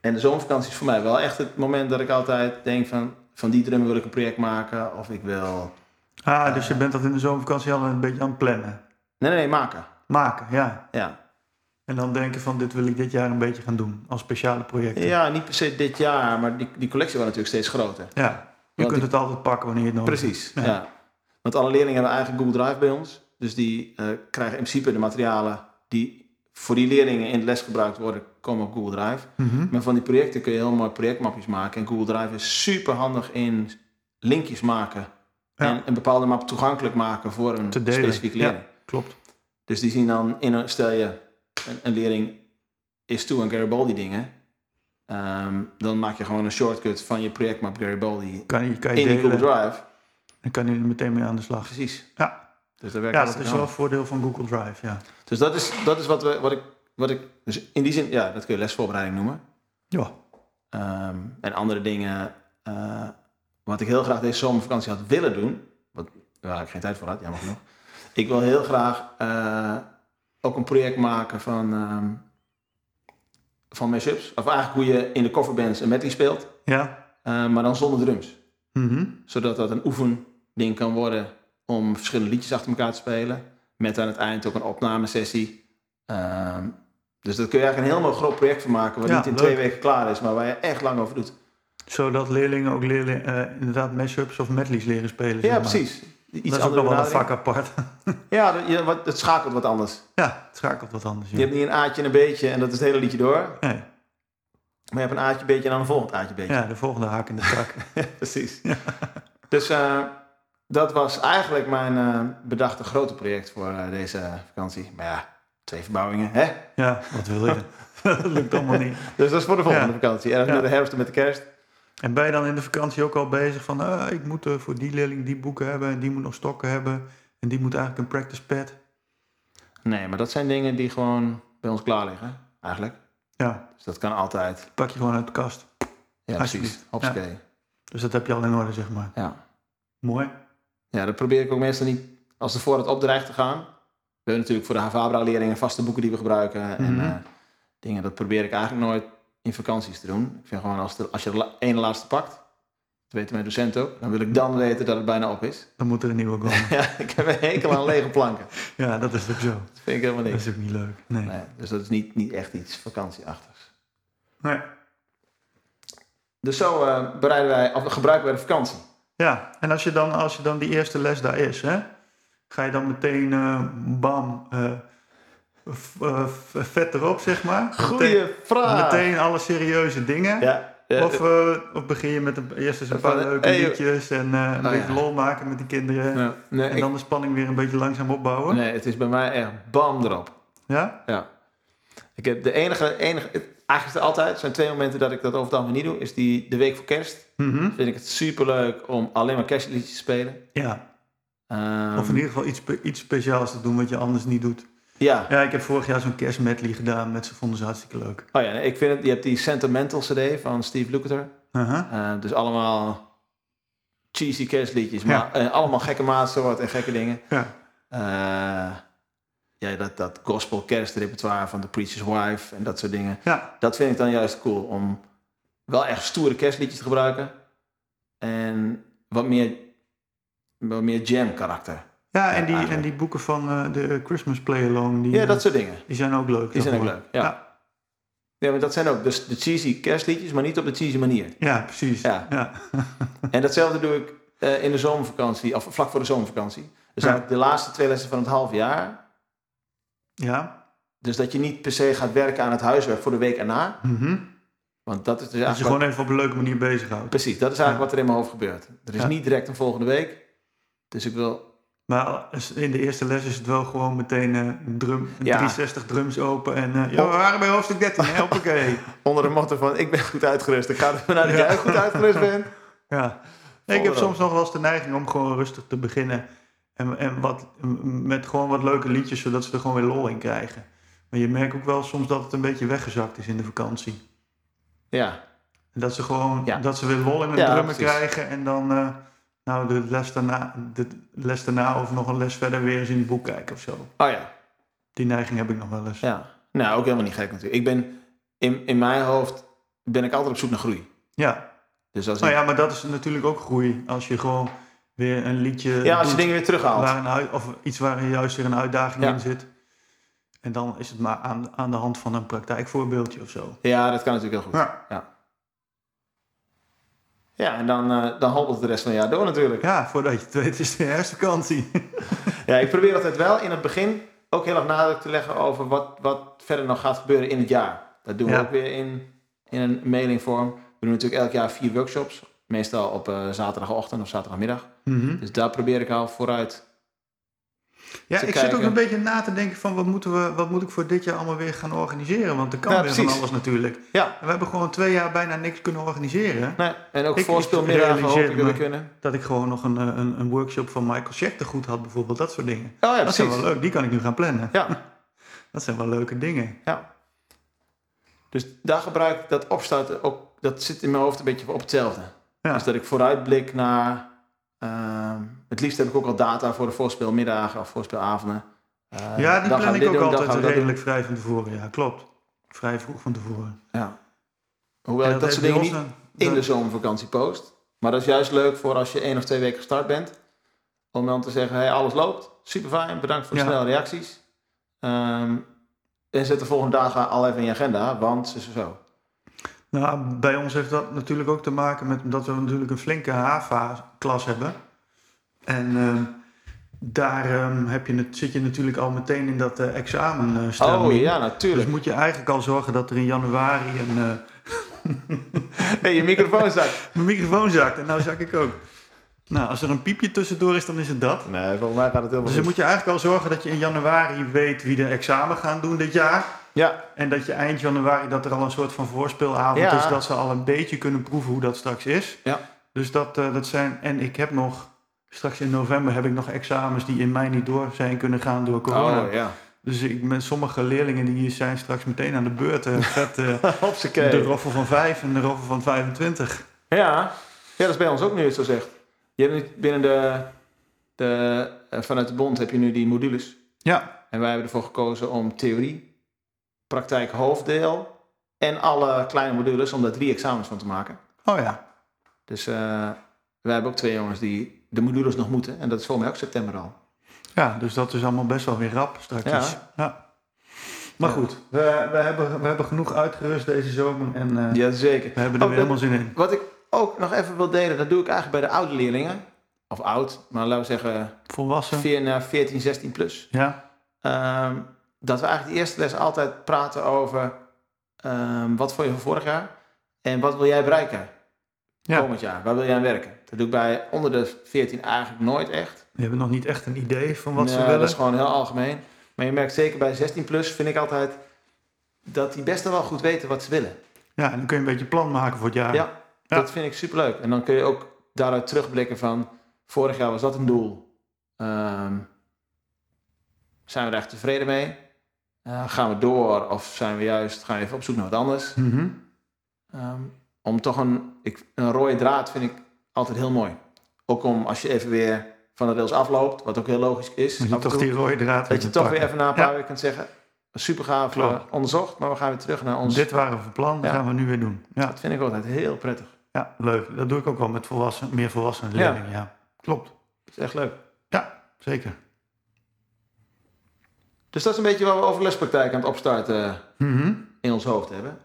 A: En de zomervakantie is voor mij wel echt het moment dat ik altijd denk van, van die drummer wil ik een project maken of ik wil...
C: Ah, dus je bent dat in de zomervakantie al een beetje aan het plannen.
A: Nee, nee, nee, maken.
C: Maken, ja.
A: Ja,
C: En dan denken van dit wil ik dit jaar een beetje gaan doen. Als speciale projecten.
A: ja niet per se dit jaar, maar die, die collectie wordt natuurlijk steeds groter.
C: Ja. Je
A: Want
C: kunt
A: ik-
C: het altijd pakken wanneer je het nodig
A: Precies,
C: Ja.
A: ja. Want alle leerlingen hebben eigen Google Drive bij ons. Dus die eh, krijgen in principe de materialen die voor die leerlingen in de les gebruikt worden, komen op Google Drive.
C: hebt. Mhm.
A: Maar van die projecten kun je heel mooi projectmapjes maken. En Google Drive is super handig in linkjes maken.
C: Ja.
A: En een bepaalde map toegankelijk maken voor een
C: Te delen.
A: specifiek
C: Ja.
A: leerling.
C: Klopt.
A: Dus die zien dan, in een, stel je een, een leerling is toe aan Garibaldi dingen. ehm, dan maak je gewoon een shortcut van je projectmap Garibaldi
C: Kan je, kan je
A: in die Google
C: delen.
A: Drive.
C: Dan kan je er meteen mee aan de slag.
A: Precies.
C: Ja.
A: Dus dat werkt
C: Ja, dat
A: hartstikke
C: is wel
A: handig.
C: een voordeel van Google Drive. Ja.
A: Dus dat is, dat is wat, we, wat, ik, wat ik. Dus in die zin, ja, dat kun je lesvoorbereiding noemen.
C: Ja.
A: Ehm, en andere dingen. eh, wat ik heel graag deze zomervakantie had willen doen. Wat, waar ik geen tijd voor had, jammer genoeg. Ik wil heel graag eh, ook een project maken van. ehm van mashups. Of eigenlijk hoe je in de coverbands een medley speelt.
C: Ja.
A: eh, maar dan zonder drums.
C: Mhm.
A: Zodat dat een oefending kan worden om verschillende liedjes achter elkaar te spelen. Met aan het eind ook een opnamesessie. Ehm, dus dat kun je eigenlijk een heel mooi groot project van maken. Wat
C: Ja,
A: niet in
C: leuk.
A: twee weken klaar is, maar waar je echt lang over doet.
C: Zodat leerlingen ook leerlingen, eh, inderdaad mashups of medleys leren spelen. zeg
A: ja,
C: maar.
A: precies. Iets
C: dat is ook
A: andere
C: nog wel een
A: benadering.
C: vak apart.
A: Ja, dat- je- wat, het schakelt wat anders.
C: ja, het schakelt wat anders.
A: Je
C: Ja.
A: hebt niet een aatje en een beetje en dat is het hele liedje door. Maar
C: Nee.
A: je hebt een aatje, beetje en dan een volgend aatje, beetje.
C: ja, de volgende haak in de tak.
A: Precies. Dus eh, dat was eigenlijk mijn eh, bedachte grote project voor eh, deze vakantie. Maar ja, twee verbouwingen, hè?
C: ja, wat wil je? dat lukt allemaal niet.
A: Dus dat is voor de volgende
C: Ja.
A: vakantie. En dan
C: Ja.
A: naar de herfst en met de kerst.
C: En ben je dan in de vakantie ook al bezig van... eh, ik moet eh, voor die leerling die boeken hebben... en die moet nog stokken hebben... en die moet eigenlijk een practice pad.
A: Nee, maar dat zijn dingen die gewoon bij ons klaar liggen, eigenlijk.
C: Ja,
A: Dus dat kan altijd.
C: pak je gewoon uit de kast.
A: Ja, precies.
C: Alsjeblieft.
A: Hopsakee.
C: Dus dat heb je al in orde, zeg maar.
A: Ja.
C: Mooi.
A: ja, dat probeer ik ook meestal niet als de voorraad opdreigt te gaan. We hebben natuurlijk voor de Havabra-leerlingen vaste boeken die we gebruiken. En
C: Mhm.
A: eh, dingen, dat probeer ik eigenlijk nooit in vakanties te doen. Ik vind gewoon, als, de, als je de la- ene laatste pakt, dat weten mijn docent ook, dan wil ik dan weten dat het bijna op is.
C: Dan moet er een nieuwe komen.
A: ja, ik heb een hekel aan lege planken.
C: ja, dat is ook zo.
A: Dat vind ik helemaal
C: Dat
A: niks.
C: is ook niet leuk. Nee.
A: Nee, dus dat is niet, niet echt iets vakantieachtigs.
C: Nee.
A: Dus zo eh, bereiden wij, of gebruiken wij de vakantie.
C: Ja, en als je, dan, als je dan die eerste les daar is... Hè, ga je dan meteen eh, bam... eh, v- eh, v- vet erop, zeg maar. Meteen,
A: Goeie vraag.
C: meteen alle serieuze dingen.
A: Ja, ja,
C: Of, eh, of begin je met een, eerst eens een
A: Van,
C: paar
A: eh,
C: leuke
A: hey, joh.
C: liedjes en eh, een
A: Oh,
C: beetje
A: ja.
C: lol maken met die kinderen.
A: ja. nee,
C: En
A: ik-
C: dan de spanning weer een beetje langzaam opbouwen.
A: nee, het is bij mij echt bam erop.
C: Ja?
A: Ja. Ik heb de enige, enige eigenlijk is het altijd, er zijn twee momenten dat ik dat over het algemeen niet doe, is die de week voor kerst.
C: Mhm.
A: Vind ik het superleuk om alleen maar kerstliedjes te spelen.
C: ja.
A: Ehm,
C: Of in ieder geval iets, spe- iets speciaals te doen wat je anders niet doet.
A: Ja.
C: Ja, ik heb vorig jaar zo'n kerstmedley gedaan met ze vonden ze hartstikke leuk.
A: Oh ja, nee, ik vind het, je hebt die Sentimental CD van Steve Lukather.
C: Aha.
A: Eh, dus allemaal cheesy kerstliedjes,
C: Ja.
A: maar eh, allemaal gekke maatsoort en gekke dingen.
C: Ja.
A: Eh, ja, dat, dat gospel kerstrepertoire van The Preacher's Wife en dat soort dingen.
C: Ja.
A: Dat vind ik dan juist cool. Om wel echt stoere kerstliedjes te gebruiken. En wat meer, wat meer jam karakter.
C: Ja, en die, en
A: eigenlijk.
C: die boeken van eh, de Christmas Play Along, die, eh,
A: Ja, dat soort dingen.
C: die zijn ook leuk.
A: Die zijn ook
C: daarvoor.
A: leuk. Ja. ja. maar dat zijn ook dus de cheesy kerstliedjes, maar niet op de cheesy manier.
C: Ja, precies.
A: Ja.
C: Ja.
A: En datzelfde doe ik eh, in de zomervakantie, of vlak voor de zomervakantie. Dus
C: Ja.
A: eigenlijk de laatste twee lessen van het half jaar.
C: ja.
A: Dus dat je niet per se gaat werken aan het huiswerk voor de week erna.
C: Mhm.
A: Want dat is dus
C: Dat je
A: eigenlijk
C: gewoon even op een leuke manier bezighoudt.
A: Precies, dat is eigenlijk wat er in mijn hoofd gebeurt. Er is
C: Ja.
A: niet direct een volgende week. Dus ik wil...
C: Maar in de eerste les is het wel gewoon meteen eh, een drum, een
A: Ja.
C: 360 drums open en... eh ja, we waren bij hoofdstuk 13, hè? Hoppakee.
A: Onder de motto van, ik ben goed uitgerust. Ik ga ervan uit dat jij goed uitgerust bent.
C: Ja. Nee, ik
A: Volgende
C: heb soms nog wel eens de neiging om gewoon rustig te beginnen. En, en wat, m- met gewoon wat leuke liedjes, zodat ze er gewoon weer lol in krijgen. Maar je merkt ook wel soms dat het een beetje weggezakt is in de vakantie.
A: Ja,
C: En Dat ze gewoon,
A: Ja.
C: dat ze weer lol in hun
A: Ja,
C: drummen
A: precies.
C: krijgen en dan... eh, nou de les, daarna, de les daarna of nog een les verder weer eens in het boek kijken of zo.
A: Oh ja,
C: Die neiging heb ik nog wel eens.
A: ja. Nou, ook helemaal niet gek natuurlijk. Ik ben, in, in mijn hoofd ben ik altijd op zoek naar groei.
C: ja.
A: Dus als ik-
C: Nou ja, maar dat is natuurlijk ook groei. Als je gewoon weer een liedje
A: ja, als je
C: doet
A: dingen weer terughaalt.
C: waar een hui- of iets waar juist weer een uitdaging
A: Ja.
C: in zit. En dan is het maar aan, aan de hand van een praktijkvoorbeeldje of zo.
A: Ja, dat kan natuurlijk heel goed.
C: Ja.
A: Ja, Ja, en dan, eh dan hobbelt het de rest van het jaar door natuurlijk.
C: Ja, voordat je het weet is het weer herfstvakantie.
A: Ja, ik probeer altijd wel in het begin ook heel erg nadruk te leggen over wat, wat verder nog gaat gebeuren in het jaar. Dat doen we
C: Ja.
A: ook weer in, in een mailingvorm. We doen natuurlijk elk jaar vier workshops. Meestal op eh, zaterdagochtend of zaterdagmiddag.
C: Mhm.
A: Dus daar probeer ik al vooruit.
C: Ja,
A: te
C: ik zit
A: kijken.
C: ook een beetje na te denken van wat, moeten we, wat moet ik voor dit jaar allemaal weer gaan organiseren? Want er kan
A: Ja,
C: weer
A: precies.
C: van alles natuurlijk.
A: Ja.
C: En we hebben gewoon twee jaar bijna niks kunnen organiseren.
A: Nee, en Nou, ook
C: Ik- ik
A: voorspelmiddagen hoop
C: realiseer
A: ik dat we
C: me-
A: kunnen.
C: Dat ik gewoon nog een, eh, een, een workshop van Michael Schechter goed had bijvoorbeeld. Dat soort dingen.
A: Oh ja,
C: dat zijn
A: precies.
C: wel leuk. Die kan ik nu gaan plannen.
A: Ja,
C: Dat zijn wel leuke dingen.
A: ja. Dus daar gebruik ik dat opstarten ook. Dat zit in mijn hoofd een beetje op hetzelfde.
C: Ja.
A: Dus dat ik vooruitblik naar. ehm, het liefst heb ik ook al data voor de voorspelmiddagen of voorspelavonden. Eh,
C: ja, die
A: dan gaan
C: plan
A: we
C: ik
A: dit
C: ook
A: doen, dan gaan we
C: altijd
A: dat doen.
C: redelijk vrij van tevoren. Ja, klopt. Vrij vroeg van tevoren.
A: Ja. Hoewel
C: En
A: ik dat soort
C: heeft
A: dingen
C: bij
A: niet
C: ons een-
A: in de zomervakantie post. Maar dat is juist leuk voor als je één of twee weken gestart bent. Om dan te zeggen, hey, alles loopt. Super fijn, bedankt voor de
C: Ja.
A: snelle reacties. Ehm, en zet de volgende dagen al even in je agenda, want zo, zo, zo.
C: Nou, bij ons heeft dat natuurlijk ook te maken met dat we natuurlijk een flinke HAVA-klas hebben. En ehm, daar ehm, heb je, het- zit je natuurlijk al meteen in dat eh examen eh, stramien.
A: Oh ja,
C: Dus
A: natuurlijk.
C: moet je eigenlijk al zorgen dat er in januari een eh,
A: hey, je microfoon zakt.
C: mijn microfoon zakt. En nou zak ik ook. Nou, als er een piepje tussendoor is, dan is het dat.
A: Nee, volgens mij gaat het helemaal
C: Dus dan
A: goed.
C: moet je eigenlijk al zorgen dat je in januari weet wie de examen gaan doen dit jaar.
A: Ja,
C: En dat je eind januari dat er al een soort van voorspeelavond
A: Ja.
C: is, dat ze al een beetje kunnen proeven hoe dat straks is.
A: Ja.
C: Dus dat, eh, dat zijn. En ik heb nog, straks in november heb ik nog examens die in mei niet door zijn kunnen gaan door corona.
A: oh ja.
C: Dus ik, met sommige leerlingen die hier zijn straks meteen aan de beurt. eh, Fred, eh, de
A: Hopsakee.
C: roffel van 5 en de roffel van 25.
A: Ja. ja, dat is bij ons ook nu het zo zegt. Je hebt nu binnen de, de eh, vanuit de bond heb je nu die modules.
C: Ja,
A: En wij hebben ervoor gekozen om theorie, praktijk hoofddeel en alle kleine modules om daar drie examens van te maken.
C: oh ja.
A: Dus eh, wij hebben ook twee jongens die de modules nog moeten. En dat is volgens mij ook september al.
C: Ja, dus dat is allemaal best wel weer rap straks.
A: Ja.
C: Maar goed, we, we, hebben, we hebben genoeg uitgerust deze zomer en eh,
A: Ja, zeker.
C: we hebben er
A: Oh,
C: weer helemaal zin in.
A: Wat ik ook nog even wil delen, dat doe ik eigenlijk bij de oude leerlingen. Of oud, maar laten we zeggen
C: Volwassen.
A: 4 naar 14, 16 plus.
C: Ja,
A: Ehm, dat we eigenlijk de eerste les altijd praten over ehm, wat vond je van vorig jaar en wat wil jij bereiken
C: Ja.
A: komend jaar? Waar wil jij aan werken? Dat doe ik bij onder de 14 eigenlijk nooit echt.
C: we hebben nog niet echt een idee van wat ze
A: Nou,
C: willen.
A: Dat is gewoon heel algemeen. Maar je merkt zeker bij 16 plus vind ik altijd dat die best wel goed weten wat ze willen.
C: Ja, en dan kun je een beetje plan maken voor het jaar.
A: Ja,
C: Ja.
A: dat vind ik superleuk. En dan kun je ook daaruit terugblikken van... vorig jaar was dat een doel. Ehm, zijn we daar echt tevreden mee? Eh, gaan we door of zijn we juist... gaan we even op zoek naar wat anders?
C: Mhm.
A: Ehm, om toch een... Ik, een rode draad vind ik altijd heel mooi. Ook om als je even weer van de rails afloopt... wat ook heel logisch is.
C: Dat je
A: af en
C: toch
A: toe,
C: die rode draad
A: Mhm. dat je toch
C: weer pakken.
A: weer even na een paar weken kunt zeggen... super gaaf,
C: Klopt.
A: eh, onderzocht... maar we gaan weer terug naar ons...
C: Dit waren we van plan, dat
A: Ja.
C: gaan we nu weer doen. Ja,
A: Dat vind ik altijd heel prettig.
C: ja, leuk. Dat doe ik ook wel met volwassen, meer volwassen leerlingen. Ja. klopt.
A: Dat is echt leuk.
C: Ja, zeker.
A: Dus dat is een beetje waar we over lespraktijk aan het opstarten eh,
C: Mhm.
A: in ons hoofd hebben.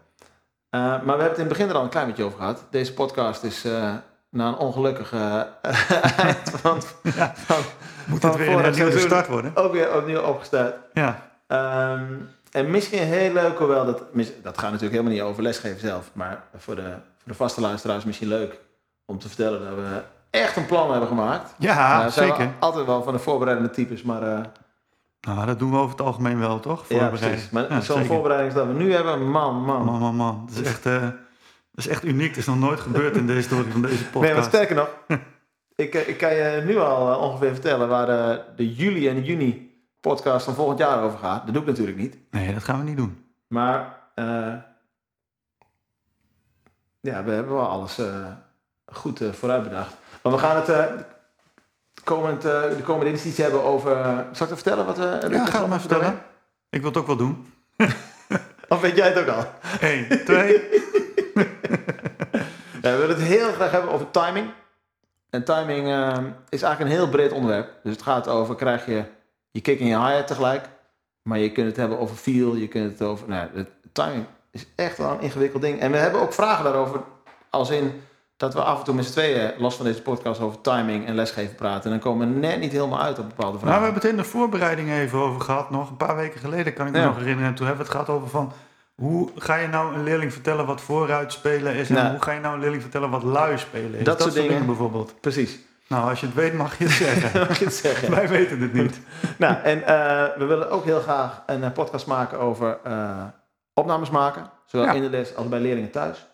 A: Eh, maar we hebben het in het begin er al een klein beetje over gehad. Deze podcast is eh, na een ongelukkige eh, eind van, van,
C: Moet
A: van
C: het weer een
A: vorig
C: nieuwe
A: seizoen
C: start worden?
A: ook weer opnieuw opgestart.
C: Ja,
A: Ehm, en misschien heel leuk, hoewel dat, mis- dat gaat natuurlijk helemaal niet over lesgeven zelf, maar voor de, voor de vaste luisteraars misschien leuk om te vertellen dat we echt een plan hebben gemaakt.
C: ja
A: Nou, zijn we
C: Ah, zeker.
A: altijd wel van de voorbereidende types, maar eh,
C: Nou, dat doen we over het algemeen wel, toch?
A: ja,
C: Voorbereiden.
A: precies. Maar
C: Ja,
A: zo'n
C: zeker.
A: voorbereiding dat we nu hebben, man, man.
C: Man, man, man. Dat is echt, eh, dat is echt uniek. Dat is nog nooit gebeurd in de historie van deze
A: Nee, maar
C: podcast.
A: sterker nog, ik, eh, ik kan je nu al eh, ongeveer vertellen waar de, de juli en juni podcast van volgend jaar over gaat. Dat doe ik natuurlijk niet.
C: Nee, dat gaan we niet doen.
A: Maar eh, ja, we hebben wel alles eh, goed eh, vooruit bedacht. Maar we gaan het eh, komend, eh, de komende editie iets hebben over... Zal ik dat vertellen? Wat, eh,
C: Ja,
A: Lucas
C: ga het maar
A: had?
C: vertellen. Ik wil het ook wel doen.
A: Of weet jij het ook al?
C: 1, 2.
A: Ja, we willen het heel graag hebben over timing. En timing eh, is eigenlijk een heel breed onderwerp. Dus het gaat over, krijg je je kick en je hi-hat tegelijk. Maar je kunt het hebben over feel, je kunt het over... Nou, de timing is echt wel een ingewikkeld ding. En we hebben ook vragen daarover. Als in dat we af en toe met z'n tweeën last van deze podcast over timing en lesgeven praten. En dan komen we net niet helemaal uit op bepaalde
C: Nou,
A: vragen.
C: we hebben het in de voorbereiding even over gehad. Nog een paar weken geleden kan ik me
A: Ja.
C: nog herinneren. Toen hebben we het gehad over van... Hoe ga je nou een leerling vertellen wat vooruit spelen is? En
A: Nou.
C: hoe ga je nou een leerling vertellen wat lui spelen is?
A: Dat soort dingen.
C: bijvoorbeeld.
A: Precies.
C: Nou, als je het weet mag je het zeggen.
A: Mag ik het zeggen?
C: Wij weten het niet.
A: Nou, en eh, we willen ook heel graag een eh, podcast maken over eh, opnames maken. Zowel
C: Ja.
A: in de les als bij leerlingen thuis.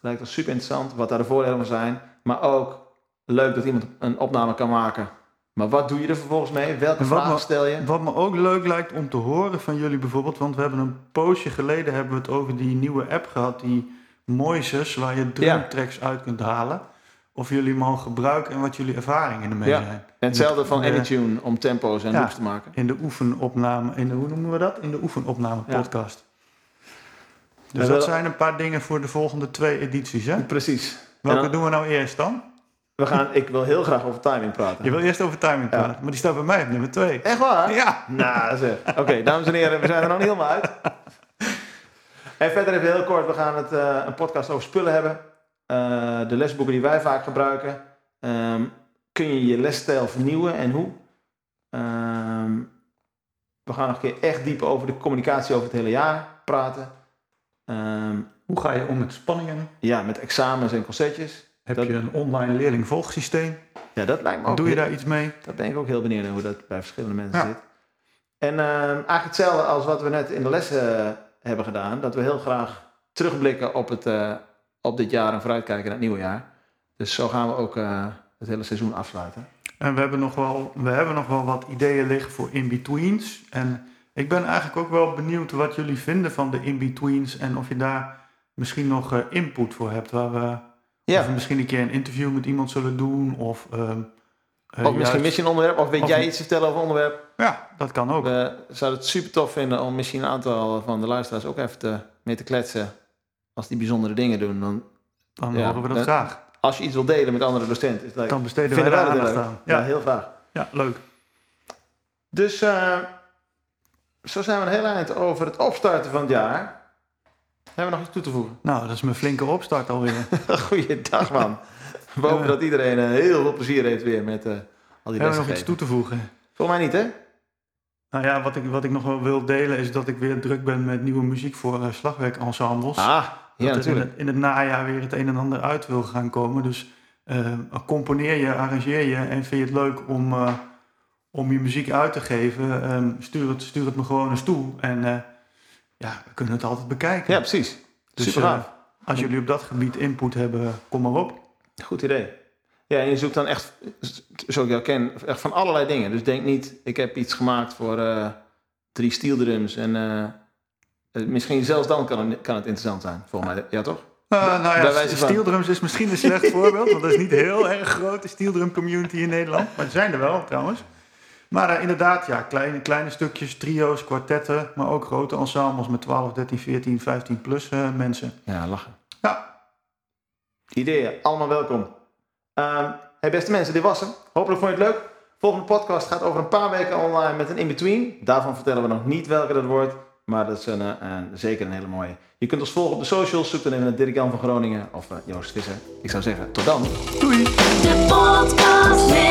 A: Lijkt ons super interessant wat daar de voordelen van zijn. Maar ook leuk dat iemand een opname kan maken. Maar wat doe je er vervolgens mee? Welke
C: En wat
A: vragen
C: me-
A: stel je?
C: Wat me ook leuk lijkt om te horen van jullie bijvoorbeeld, want we hebben een poosje geleden hebben we het over die nieuwe app gehad, die Moises, waar je drumtracks uit kunt halen. Of jullie hem al gebruiken en wat jullie ervaringen ermee
A: Ja.
C: zijn.
A: En hetzelfde van
C: Eh,
A: AnyTune om tempo's en
C: ja.
A: loops te maken.
C: In de oefenopname, in de, hoe noemen we dat? In de oefenopname
A: Ja.
C: podcast.
A: We
C: Dus dat
A: willen-
C: zijn een paar dingen voor de volgende twee edities. Hè?
A: Precies.
C: Welke
A: dan-
C: doen we nou eerst dan?
A: We gaan, ik wil heel graag over timing praten.
C: Je wil eerst over timing praten, maar die staat bij mij op nummer twee.
A: Echt waar?
C: Ja.
A: Nou, zeg. Oké, dames en heren, we zijn er nog niet helemaal uit. En verder even heel kort, we gaan het, eh, een podcast over spullen hebben. Eh, de lesboeken die wij vaak gebruiken. Ehm, kun je je lesstijl vernieuwen en hoe? Ehm, we gaan nog een keer echt diep over de communicatie over het hele jaar praten. Ehm,
C: Hoe ga je om met spanningen?
A: ja, met examens en concertjes.
C: Heb
A: Dat-
C: je een online leerling-volgsysteem?
A: Ja, dat lijkt me ook
C: Doe je
A: heel-
C: daar iets mee?
A: Daar ben ik ook heel benieuwd naar hoe dat bij verschillende mensen
C: Ja.
A: zit. En ehm, eigenlijk hetzelfde als wat we net in de lessen eh, hebben gedaan. Dat we heel graag terugblikken op, het, eh, op dit jaar en vooruitkijken naar het nieuwe jaar. Dus zo gaan we ook eh, het hele seizoen afsluiten.
C: En we hebben nog wel, we hebben nog wel wat ideeën liggen voor in-betweens. En ik ben eigenlijk ook wel benieuwd wat jullie vinden van de in-betweens. En of je daar misschien nog eh, input voor hebt. Waar we,
A: Ja,
C: of we misschien een keer een interview met iemand zullen doen. Of, ehm, eh,
A: of
C: juist-
A: misschien mis je een onderwerp of weet
C: Of-
A: jij iets te vertellen over een onderwerp.
C: Ja, dat kan ook.
A: We zouden het super tof vinden om misschien een aantal van de luisteraars ook even te, mee te kletsen. Als die bijzondere dingen doen. Dan
C: Dan
A: ja,
C: horen we dat
A: dan-
C: graag.
A: als je iets wilt delen met andere docenten, is dat
C: Dan besteden wij
A: vinden wij
C: daar
A: dat heel
C: aandacht
A: leuk.
C: aan.
A: Ja,
C: Ja,
A: heel graag.
C: ja, leuk.
A: Dus eh, zo zijn we een heel eind over het opstarten van het jaar. Hebben we nog iets toe te voegen?
C: Nou, dat is mijn flinke opstart alweer.
A: Goeiedag man. We hopen
C: Ja.
A: dat iedereen eh, heel veel plezier heeft weer met eh, al die
C: Hebben we
A: lessen
C: nog iets
A: geven.
C: toe te voegen?
A: Volgens mij niet hè?
C: Nou ja, wat ik, wat ik nog wel wil delen is dat ik weer druk ben met nieuwe muziek voor eh, slagwerkensembles.
A: Ah, ja
C: dat er in
A: natuurlijk.
C: het, in het najaar weer het een en ander uit wil gaan komen. Dus eh, componeer je, arrangeer je en vind je het leuk om, eh, om je muziek uit te geven. ehm, stuur, het, stuur het me gewoon eens toe. En eh, ja, we kunnen het altijd bekijken.
A: Ja precies.
C: Dus,
A: Super
C: eh,
A: gaaf.
C: als jullie op dat gebied input hebben, kom maar op.
A: Goed idee. Ja, en je zoekt dan echt, zoals ik jou ken, echt van allerlei dingen. Dus denk niet, ik heb iets gemaakt voor eh, drie steel drums. En eh, eh, misschien zelfs dan kan het, kan het interessant zijn, volgens mij. Ja toch?
C: Eh, nou
A: bij
C: ja,
A: wijze van.
C: steeldrums is misschien een slecht voorbeeld, want dat is niet heel erg groot, de steeldrum community in Nederland. Maar er zijn er wel trouwens. Maar eh, inderdaad, ja, kleine, kleine stukjes, trio's, kwartetten, maar ook grote ensembles met 12, 13, 14, 15 plus eh, mensen.
A: Ja, lachen.
C: Ja.
A: Ideeën, allemaal welkom. Ehm hey beste mensen, dit was hem. Hopelijk vond je het leuk. Volgende podcast gaat over een paar weken online met een in-between. Daarvan vertellen we nog niet welke dat wordt. Maar dat is een, eh, een- zeker een hele mooie. Je kunt ons volgen op de socials. Zoek dan even naar Dirk Jan van Groningen of eh, Joost Visser. Ik zou zeggen, tot dan.
B: de podcast met